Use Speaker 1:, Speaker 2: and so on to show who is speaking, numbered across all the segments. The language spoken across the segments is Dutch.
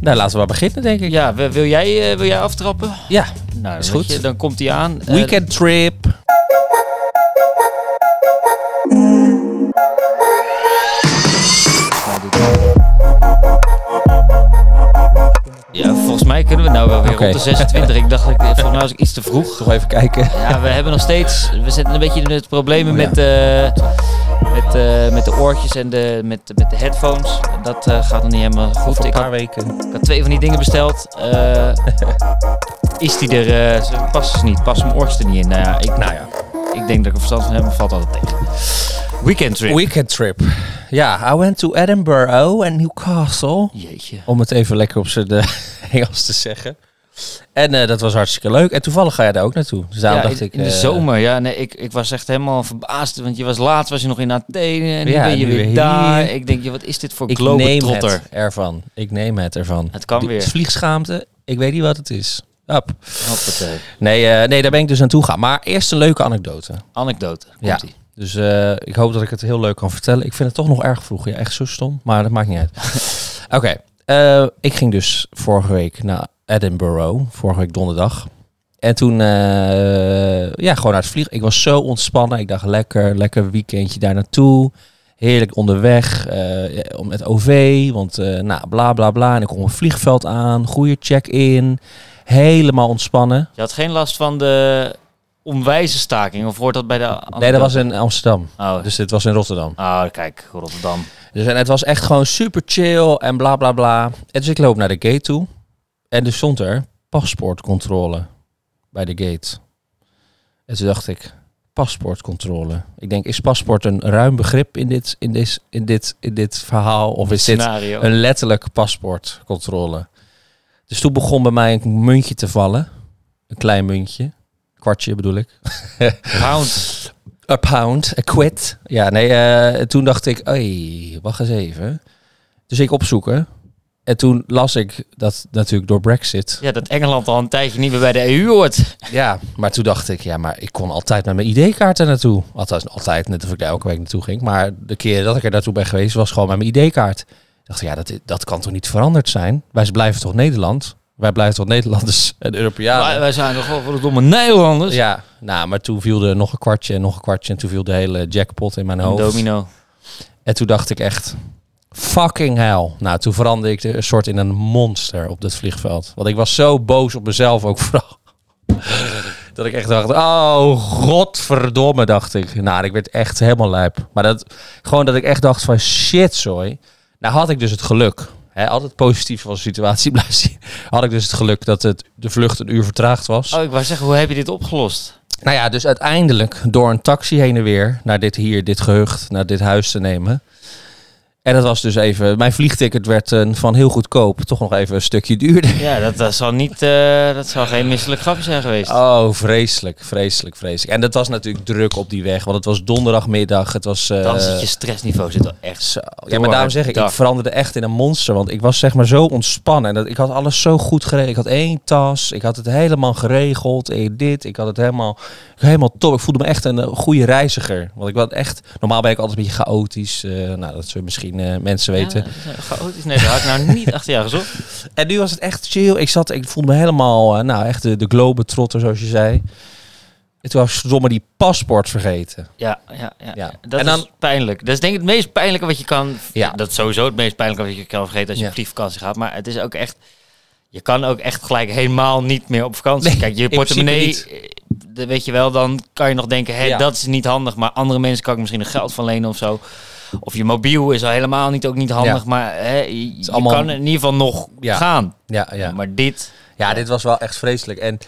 Speaker 1: Nou, laten we maar beginnen, denk ik.
Speaker 2: Ja, wil wil jij, eh, wil jij aftrappen?
Speaker 1: Ja,
Speaker 2: Nou,
Speaker 1: Is
Speaker 2: weet
Speaker 1: goed.
Speaker 2: je, dan komt hij aan. Eh,
Speaker 1: weekend trip.
Speaker 2: ja, volgens mij kunnen we nou wel weer
Speaker 1: Oké.
Speaker 2: op de 26. ik dacht, ik, volgens mij was ik iets te vroeg.
Speaker 1: Toch even kijken.
Speaker 2: Ja, we hebben nog steeds. We zitten een beetje in het problemen
Speaker 1: Oh ja.
Speaker 2: met, eh, met, eh, met de oortjes en de, met, met de headphones. Dat eh, gaat nog niet helemaal goed.
Speaker 1: Over een
Speaker 2: Ik
Speaker 1: paar
Speaker 2: had,
Speaker 1: weken.
Speaker 2: ik had twee van die dingen besteld. Eh, is die er? eh, ze passen ze niet. Passen mijn oortjes er niet in. Nou ja, ik,
Speaker 1: Nou ja,
Speaker 2: ik denk dat ik er verstand van heb, maar valt altijd tegen. Weekend trip.
Speaker 1: weekend trip. Ja, I went to Edinburgh en Newcastle.
Speaker 2: Jeetje.
Speaker 1: Om het even lekker op zijn eh, Engels te zeggen. En eh, dat was hartstikke leuk. En toevallig ga jij daar ook naartoe. Dus daarom
Speaker 2: Ja,
Speaker 1: dacht
Speaker 2: in,
Speaker 1: ik...
Speaker 2: in de
Speaker 1: eh,
Speaker 2: zomer, ja. Nee, ik, ik was echt helemaal verbaasd, want je was laat, was je nog in Athene en nu
Speaker 1: Ja,
Speaker 2: ben je
Speaker 1: nu
Speaker 2: weer
Speaker 1: weer
Speaker 2: daar.
Speaker 1: hier.
Speaker 2: Ik denk, ja, wat is dit voor
Speaker 1: Ik neem
Speaker 2: globetrotter?
Speaker 1: het ervan. Ik neem het ervan.
Speaker 2: Het kan
Speaker 1: Die
Speaker 2: weer.
Speaker 1: Vliegschaamte. Ik weet niet wat het is. Hap.
Speaker 2: Hoppatee.
Speaker 1: Nee, eh, nee, daar ben ik dus naartoe gegaan. Maar eerst een leuke anekdote.
Speaker 2: Anekdote,
Speaker 1: Ja.
Speaker 2: komt-ie.
Speaker 1: Dus eh, ik hoop dat ik het heel leuk kan vertellen. Ik vind het toch nog erg vroeg. Ja, echt zo stom. Maar dat maakt niet uit. Oké. eh, ik ging dus vorige week naar Edinburgh. Vorige week donderdag. En toen, eh, ja, gewoon naar het vliegen. Ik was zo ontspannen. Ik dacht, lekker, lekker weekendje daar naartoe. Heerlijk onderweg eh, ja, om met OV. Want, eh, nou, bla, bla, bla. En ik kom een vliegveld aan. Goede check-in. Helemaal ontspannen.
Speaker 2: Je had geen last van de onwijze staking, of hoort dat bij de...
Speaker 1: Nee,
Speaker 2: anekdote?
Speaker 1: dat was in Amsterdam.
Speaker 2: Oh,
Speaker 1: Dus dit was in Rotterdam.
Speaker 2: oh kijk, Rotterdam.
Speaker 1: Dus en het was echt gewoon super chill en bla bla bla. En dus ik loop naar de gate toe. En er stond er paspoortcontrole bij de gate. En toen dacht ik, paspoortcontrole. Ik denk, is paspoort een ruim begrip in dit, in dit, in dit, in dit verhaal? Of is dit
Speaker 2: Scenario.
Speaker 1: een letterlijk paspoortcontrole? Dus toen begon bij mij een muntje te vallen. Een klein muntje. Kwartje bedoel ik.
Speaker 2: Round.
Speaker 1: A pound, a quid. Ja, nee, eh, toen dacht ik, hey, wacht eens even. Dus ik opzoeken. En toen las ik dat natuurlijk door Brexit.
Speaker 2: Ja, dat Engeland al een tijdje niet meer bij de EU hoort.
Speaker 1: Ja, maar toen dacht ik, ja, maar ik kon altijd met mijn ID-kaart er naartoe. Althans, altijd, net of ik daar elke week naartoe ging. Maar de keer dat ik er naartoe ben geweest, was gewoon met mijn ID-kaart. Ik dacht, ja, dat, dat kan toch niet veranderd zijn? Wij blijven toch Nederland? Wij blijven toch Nederlanders en Europeanen?
Speaker 2: Wij, wij zijn nogal voor de domme Nederlanders.
Speaker 1: Ja, nou, maar toen viel er nog een kwartje en nog een kwartje. En toen viel de hele jackpot in mijn
Speaker 2: Een
Speaker 1: hoofd.
Speaker 2: domino.
Speaker 1: En toen dacht ik echt, fucking hell. Nou, toen veranderde ik de een soort in een monster op dat vliegveld. Want ik was zo boos op mezelf ook vooral. dat ik echt dacht, oh godverdomme, dacht ik. Nou, ik werd echt helemaal lijp. Maar dat, gewoon dat ik echt dacht van shit, zooi. Nou had ik dus het geluk. Hè, altijd positief van de situatie blijven zien. Had ik dus het geluk dat het, de vlucht een uur vertraagd was.
Speaker 2: Oh, ik wou zeggen, hoe heb je dit opgelost?
Speaker 1: Nou ja, dus uiteindelijk door een taxi heen en weer naar dit hier, dit gehucht, naar dit huis te nemen. En dat was dus even, mijn vliegticket werd eh, van heel goedkoop toch nog even een stukje duurder.
Speaker 2: Ja, dat, dat zal niet... eh, dat zal geen misselijk grapje zijn geweest.
Speaker 1: Oh, vreselijk, vreselijk, vreselijk. En dat was natuurlijk druk op die weg, want het was donderdagmiddag. Het was. eh,
Speaker 2: Dan zit je stressniveau zit al echt
Speaker 1: zo. Ja,
Speaker 2: Door
Speaker 1: maar daarom
Speaker 2: het
Speaker 1: zeg ik, ik
Speaker 2: dak.
Speaker 1: veranderde echt in een monster. Want ik was zeg maar zo ontspannen. En dat, ik had alles zo goed geregeld. Ik had één tas, ik had het helemaal geregeld. Ik dit, ik had het helemaal, helemaal top. Ik voelde me echt een eh, goede reiziger. Want ik was echt, normaal ben ik altijd een beetje chaotisch. eh, nou, dat zullen misschien eh, mensen weten.
Speaker 2: Ja, chaotisch. Nee, daar had ik nou niet achter je aan gezocht.
Speaker 1: En nu was het echt chill. Ik zat, ik voelde me helemaal, eh, nou echt de, de globetrotter zoals je zei. En toen was ik verdomme die paspoort vergeten.
Speaker 2: Ja, ja, ja.
Speaker 1: Ja.
Speaker 2: Dat
Speaker 1: En dan-
Speaker 2: is pijnlijk. Dat is denk ik het meest pijnlijke wat je kan...
Speaker 1: Ja.
Speaker 2: Dat is sowieso het meest pijnlijke wat je kan vergeten als je
Speaker 1: Ja.
Speaker 2: op vliegvakantie gaat. Maar het is ook echt... Je kan ook echt gelijk helemaal niet meer op vakantie.
Speaker 1: Nee,
Speaker 2: Kijk, je
Speaker 1: in principe
Speaker 2: portemonnee...
Speaker 1: niet.
Speaker 2: eh, dat Weet je wel, dan kan je nog denken, hé,
Speaker 1: Ja.
Speaker 2: dat is niet handig. Maar andere mensen kan ik misschien nog geld van lenen of zo. Of je mobiel is al helemaal niet, ook niet handig.
Speaker 1: Ja.
Speaker 2: Maar hè, je, je
Speaker 1: allemaal-
Speaker 2: kan in ieder geval nog
Speaker 1: Ja.
Speaker 2: gaan.
Speaker 1: Ja, ja.
Speaker 2: Maar dit...
Speaker 1: Ja, dit was wel echt vreselijk. En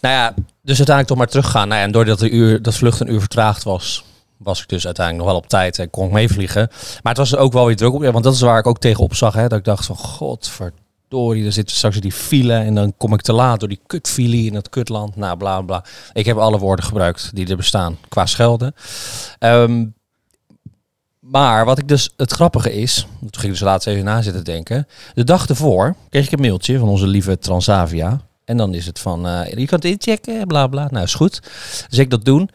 Speaker 1: nou ja, dus uiteindelijk toch maar teruggaan. Nou ja, en doordat de uur, dat vlucht een uur vertraagd was, was ik dus uiteindelijk nog wel op tijd en kon ik meevliegen. Maar het was ook wel weer druk op. ja, Want dat is waar ik ook tegenop zag. Hè, dat ik dacht van, godverdorie, dan zitten straks in die file en dan kom ik te laat door die kutfile in dat kutland. Nou, bla bla. Ik heb alle woorden gebruikt die er bestaan qua schelden. Ehm, maar wat ik dus het grappige is, toen ging ik dus laatst even na zitten denken. De dag ervoor kreeg ik een mailtje van onze lieve Transavia. En dan is het van, eh, je kan het inchecken, bla bla. Nou, is goed. Dus ik dat doen.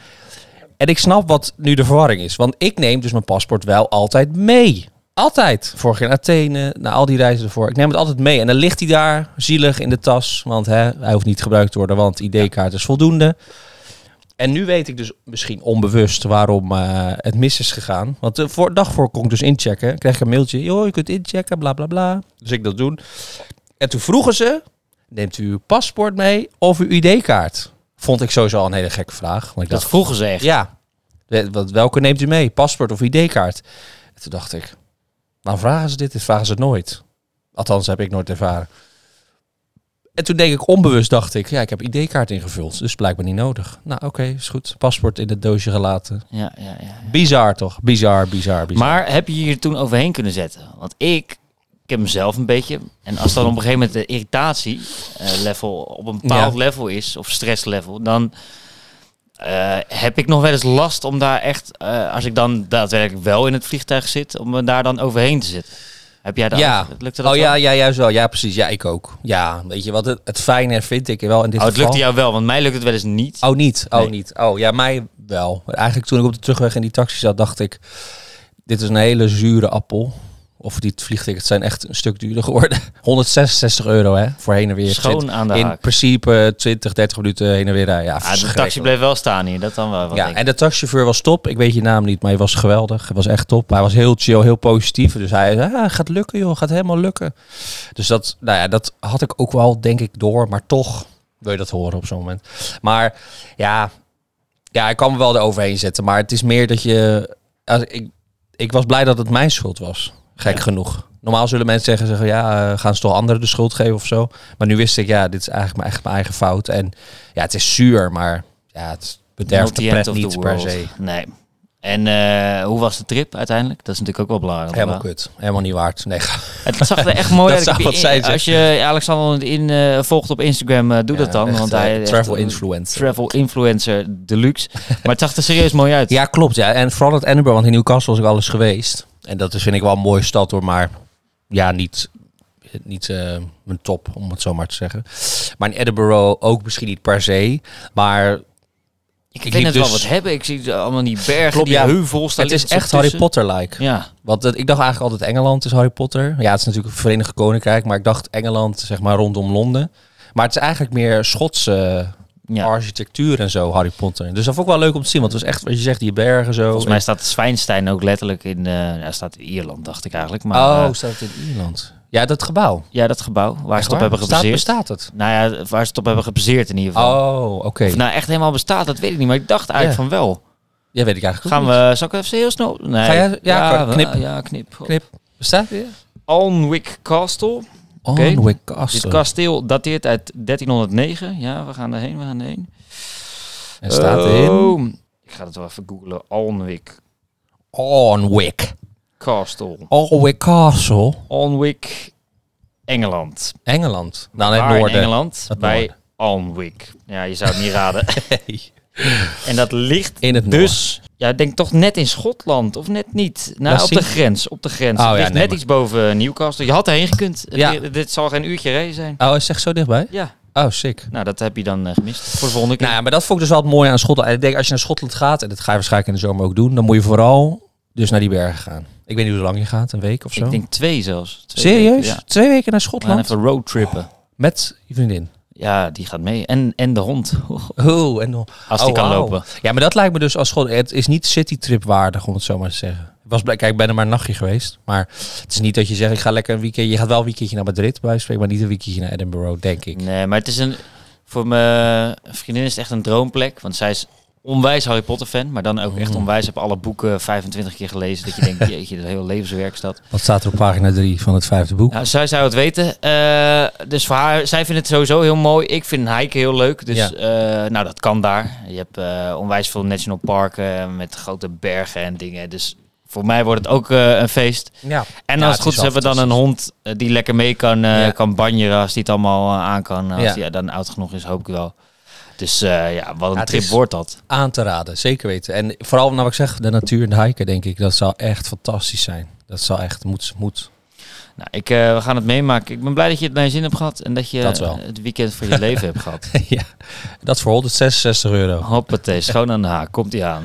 Speaker 1: En ik snap wat nu de verwarring is. Want ik neem dus mijn paspoort wel altijd mee. Altijd. Vorig jaar in Athene, na al die reizen ervoor. Ik neem het altijd mee. En dan ligt hij daar, zielig in de tas. Want hè, hij hoeft niet gebruikt te worden, want ID-kaart is voldoende. En nu weet ik dus misschien onbewust waarom eh, het mis is gegaan. Want de voor, dag voor kon ik dus inchecken. Kreeg ik een mailtje. Joh, je kunt inchecken, bla bla bla. Dus ik dat doen. En toen vroegen ze, neemt u uw paspoort mee of uw ID-kaart? Vond ik sowieso al een hele gekke vraag. Want ik dacht,
Speaker 2: Dat vroegen ze echt.
Speaker 1: ja. We- wat- Welke neemt u mee? Paspoort of ID-kaart? En Toen dacht ik, waarom vragen ze dit? Dit vragen ze nooit. Althans, heb ik nooit ervaren. En toen denk ik onbewust, dacht ik, ja, ik heb ID-kaart ingevuld. Dus blijkbaar niet nodig. Nou, oké, is goed. Paspoort in het doosje gelaten.
Speaker 2: Ja, ja, ja.
Speaker 1: Bizar toch? Bizar, bizar, bizar.
Speaker 2: Maar heb je je er toen overheen kunnen zetten? Want ik, ik heb mezelf een beetje. En als dan op een gegeven moment de irritatie eh, level op een bepaald
Speaker 1: Ja.
Speaker 2: level is, of stress level, dan eh, heb ik nog wel eens last om daar echt, eh, als ik dan daadwerkelijk wel in het vliegtuig zit, om me daar dan overheen te zitten. Heb jij dat?
Speaker 1: ja.
Speaker 2: Lukte
Speaker 1: Oh
Speaker 2: dat wel?
Speaker 1: ja, ja, juist wel. Ja, precies. Ja, ik ook. Ja, weet je wat? Het, het fijne vind ik wel in dit
Speaker 2: Oh, het
Speaker 1: geval.
Speaker 2: lukte jou wel, want mij lukt het wel eens niet. Ah,
Speaker 1: Oh, niet. Oh,
Speaker 2: Nee.
Speaker 1: niet. Oh, ja, mij wel. Eigenlijk toen ik op de terugweg in die taxi zat, dacht ik... Dit is een hele zure appel. Of die vliegtickets zijn echt een stuk duurder geworden. 166 euro, hè? Voor heen en weer.
Speaker 2: Schoon aan de
Speaker 1: in
Speaker 2: haak.
Speaker 1: principe 20, 30 minuten heen en weer rijden. Ja,
Speaker 2: Ah, de taxi
Speaker 1: verschrikkelijk.
Speaker 2: bleef wel staan hier, dat dan wel. wat,
Speaker 1: Ja,
Speaker 2: denk ik.
Speaker 1: en de taxichauffeur was top. Ik weet je naam niet, maar hij was geweldig. Hij was echt top. Hij was heel chill, heel positief. Dus hij zei, ah, gaat lukken joh, gaat helemaal lukken. Dus dat, nou ja, dat had ik ook wel denk ik door. Maar toch wil je dat horen op zo'n moment. Maar ja, ja, ik kan me wel eroverheen zetten. Maar het is meer dat je... als ik, ik was blij dat het mijn schuld was. Gek genoeg. Normaal zullen mensen zeggen, zeggen ja, eh, gaan ze toch anderen de schuld geven of zo. Maar nu wist ik, ja, dit is eigenlijk mijn, echt mijn eigen fout. En ja, het is zuur, maar ja, het bederft
Speaker 2: Not the
Speaker 1: de
Speaker 2: end
Speaker 1: pret
Speaker 2: of the
Speaker 1: niet per
Speaker 2: world.
Speaker 1: se.
Speaker 2: Nee. En eh, hoe was de trip uiteindelijk? Dat is natuurlijk ook wel belangrijk.
Speaker 1: Helemaal
Speaker 2: Maar-
Speaker 1: kut. Helemaal niet waard. Nee, ga-
Speaker 2: Het zag er echt mooi
Speaker 1: Dat
Speaker 2: uit.
Speaker 1: zou
Speaker 2: Ik-
Speaker 1: wat zijn, zeg.
Speaker 2: Als je Alexander in, eh, volgt op Instagram, eh, doe
Speaker 1: Ja,
Speaker 2: dat dan.
Speaker 1: echt,
Speaker 2: want
Speaker 1: eh,
Speaker 2: hij is
Speaker 1: travel
Speaker 2: echt een
Speaker 1: influencer.
Speaker 2: Travel influencer deluxe. Maar het zag er serieus mooi uit.
Speaker 1: Ja, klopt. Ja. En vooral het Edinburgh, want in Newcastle was ik al eens geweest. En dat is, vind ik wel een mooie stad hoor, maar ja, niet, niet eh, mijn top, om het zo maar te zeggen. Maar in Edinburgh ook misschien niet per se, maar
Speaker 2: ik
Speaker 1: ik
Speaker 2: vind
Speaker 1: liep
Speaker 2: het wel
Speaker 1: dus-
Speaker 2: wat hebben. Ik zie allemaal die bergen,
Speaker 1: Klopt,
Speaker 2: die
Speaker 1: ja.
Speaker 2: heuvels. daar
Speaker 1: het is
Speaker 2: ligt
Speaker 1: echt
Speaker 2: zo
Speaker 1: Harry
Speaker 2: tussen.
Speaker 1: Potter-like.
Speaker 2: Ja,
Speaker 1: Want het- ik dacht eigenlijk altijd Engeland is Harry Potter. Ja, het is natuurlijk het Verenigd Koninkrijk, maar ik dacht Engeland, zeg maar rondom Londen. Maar het is eigenlijk meer Schotse
Speaker 2: ja.
Speaker 1: architectuur en zo, Harry Potter. Dus dat vond ik wel leuk om te zien, want het was echt, wat je zegt, die bergen zo.
Speaker 2: volgens mij staat Zwijnstein ook letterlijk in... eh ja, staat in Ierland, dacht ik eigenlijk. Maar
Speaker 1: oh,
Speaker 2: eh,
Speaker 1: staat het in Ierland? Ja, dat gebouw.
Speaker 2: ja, dat gebouw waar ze
Speaker 1: Echt
Speaker 2: het op
Speaker 1: waar?
Speaker 2: hebben
Speaker 1: Staat-
Speaker 2: gebaseerd.
Speaker 1: Bestaat het?
Speaker 2: Nou ja, waar ze het op hebben gebaseerd in ieder geval.
Speaker 1: Oh, oké.
Speaker 2: Of het nou echt helemaal bestaat, dat weet ik niet. Maar ik dacht eigenlijk
Speaker 1: Ja.
Speaker 2: van wel.
Speaker 1: Ja, weet ik eigenlijk
Speaker 2: Gaan
Speaker 1: ook
Speaker 2: we... Zal ik even heel snel... Nee.
Speaker 1: Ga jij- ja,
Speaker 2: ja,
Speaker 1: knip.
Speaker 2: wel, Ja, knip.
Speaker 1: niet. Knip. Bestaat het?
Speaker 2: Alnwick Castle.
Speaker 1: Oké.
Speaker 2: Dit
Speaker 1: Castle.
Speaker 2: kasteel dateert uit 1309. Ja, we gaan erheen, we gaan erheen.
Speaker 1: en staat in...
Speaker 2: Oh, Ik ga het wel even googlen. Alnwick
Speaker 1: Onwick.
Speaker 2: Castle.
Speaker 1: Onwick Castle.
Speaker 2: Alnwick, Engeland.
Speaker 1: Engeland. Nou, in
Speaker 2: Waar
Speaker 1: het noorden.
Speaker 2: in Engeland?
Speaker 1: Het
Speaker 2: bij
Speaker 1: noorden.
Speaker 2: Alnwick. Ja, je zou het niet raden.
Speaker 1: Nee.
Speaker 2: En dat ligt
Speaker 1: In het
Speaker 2: dus... Ja, ik denk toch net in Schotland, of net niet? Nou,
Speaker 1: Laat
Speaker 2: op de
Speaker 1: zien.
Speaker 2: grens, op de grens.
Speaker 1: Oh
Speaker 2: het
Speaker 1: ja,
Speaker 2: ligt
Speaker 1: nee,
Speaker 2: net
Speaker 1: maar-
Speaker 2: iets boven Newcastle. Je had erheen gekund. Het-
Speaker 1: Ja.
Speaker 2: Dit zal geen uurtje rijden zijn.
Speaker 1: Oh, is het echt zo dichtbij?
Speaker 2: Ja,
Speaker 1: Oh, sick.
Speaker 2: nou dat heb je dan eh, gemist. Voor de volgende keer.
Speaker 1: Nou ja, maar dat vond ik dus wel het mooie aan Schotland. En ik denk, als je naar Schotland gaat, en dat ga je waarschijnlijk in de zomer ook doen, dan moet je vooral dus naar die bergen gaan. Ik weet niet hoe lang je gaat, een week of zo.
Speaker 2: Ik denk twee zelfs. Twee
Speaker 1: Serieus?
Speaker 2: weken, ja.
Speaker 1: Twee weken naar
Speaker 2: We gaan
Speaker 1: Schotland?
Speaker 2: even roadtrippen.
Speaker 1: Met je vriendin.
Speaker 2: Ja, die gaat mee. En, en de hond.
Speaker 1: Oh, en dan...
Speaker 2: Als die
Speaker 1: Oh,
Speaker 2: kan
Speaker 1: wauw.
Speaker 2: lopen.
Speaker 1: Ja, maar dat lijkt me dus als school. Het is niet citytrip waardig, om het zo maar te zeggen. Het Was, blijk- kijk, ik ben er maar een nachtje geweest. Maar het is niet dat je zegt, ik ga lekker een weekend. Je gaat wel een weekendje naar Madrid, bij wijze van spreken, maar niet een weekendje naar Edinburgh, denk ik.
Speaker 2: Nee, maar het is een... Voor mijn vriendin is het echt een droomplek. Want zij is onwijs Harry Potter fan. Maar dan ook echt onwijs. Heb alle boeken 25 keer gelezen. Dat je denkt, jeetje, dat hele levenswerk staat.
Speaker 1: Wat staat er op pagina 3 van het vijfde boek?
Speaker 2: Nou, zij zou het weten. Eh, dus voor haar, zij vindt het sowieso heel mooi. Ik vind hiken heel leuk. Dus
Speaker 1: Ja.
Speaker 2: eh, nou, dat kan daar. Je hebt eh, onwijs veel national parken met grote bergen en dingen. Dus voor mij wordt het ook eh, een feest.
Speaker 1: Ja.
Speaker 2: En
Speaker 1: Ja,
Speaker 2: als
Speaker 1: het is
Speaker 2: het goed is,
Speaker 1: wel
Speaker 2: hebben we dan een hond eh, die lekker mee kan, eh
Speaker 1: Ja.
Speaker 2: kan banjeren als die het allemaal eh, aan kan. Als
Speaker 1: Ja.
Speaker 2: die dan oud genoeg is, hoop ik wel. Dus eh, ja, wat een
Speaker 1: Ja, het
Speaker 2: trip
Speaker 1: is-
Speaker 2: wordt dat.
Speaker 1: Aan te raden, zeker weten. En vooral, nou, wat ik zeg, de natuur en de hiken, denk ik, dat zou echt fantastisch zijn. Dat zou echt, moet, moet.
Speaker 2: Nou, ik, eh, we gaan het meemaken. Ik ben blij dat je het naar je zin hebt gehad en dat je
Speaker 1: Dat wel.
Speaker 2: eh, het weekend voor je leven hebt gehad.
Speaker 1: ja. Dat voor 166 euro.
Speaker 2: Hoppatee, schoon aan de haak. Komt ie aan.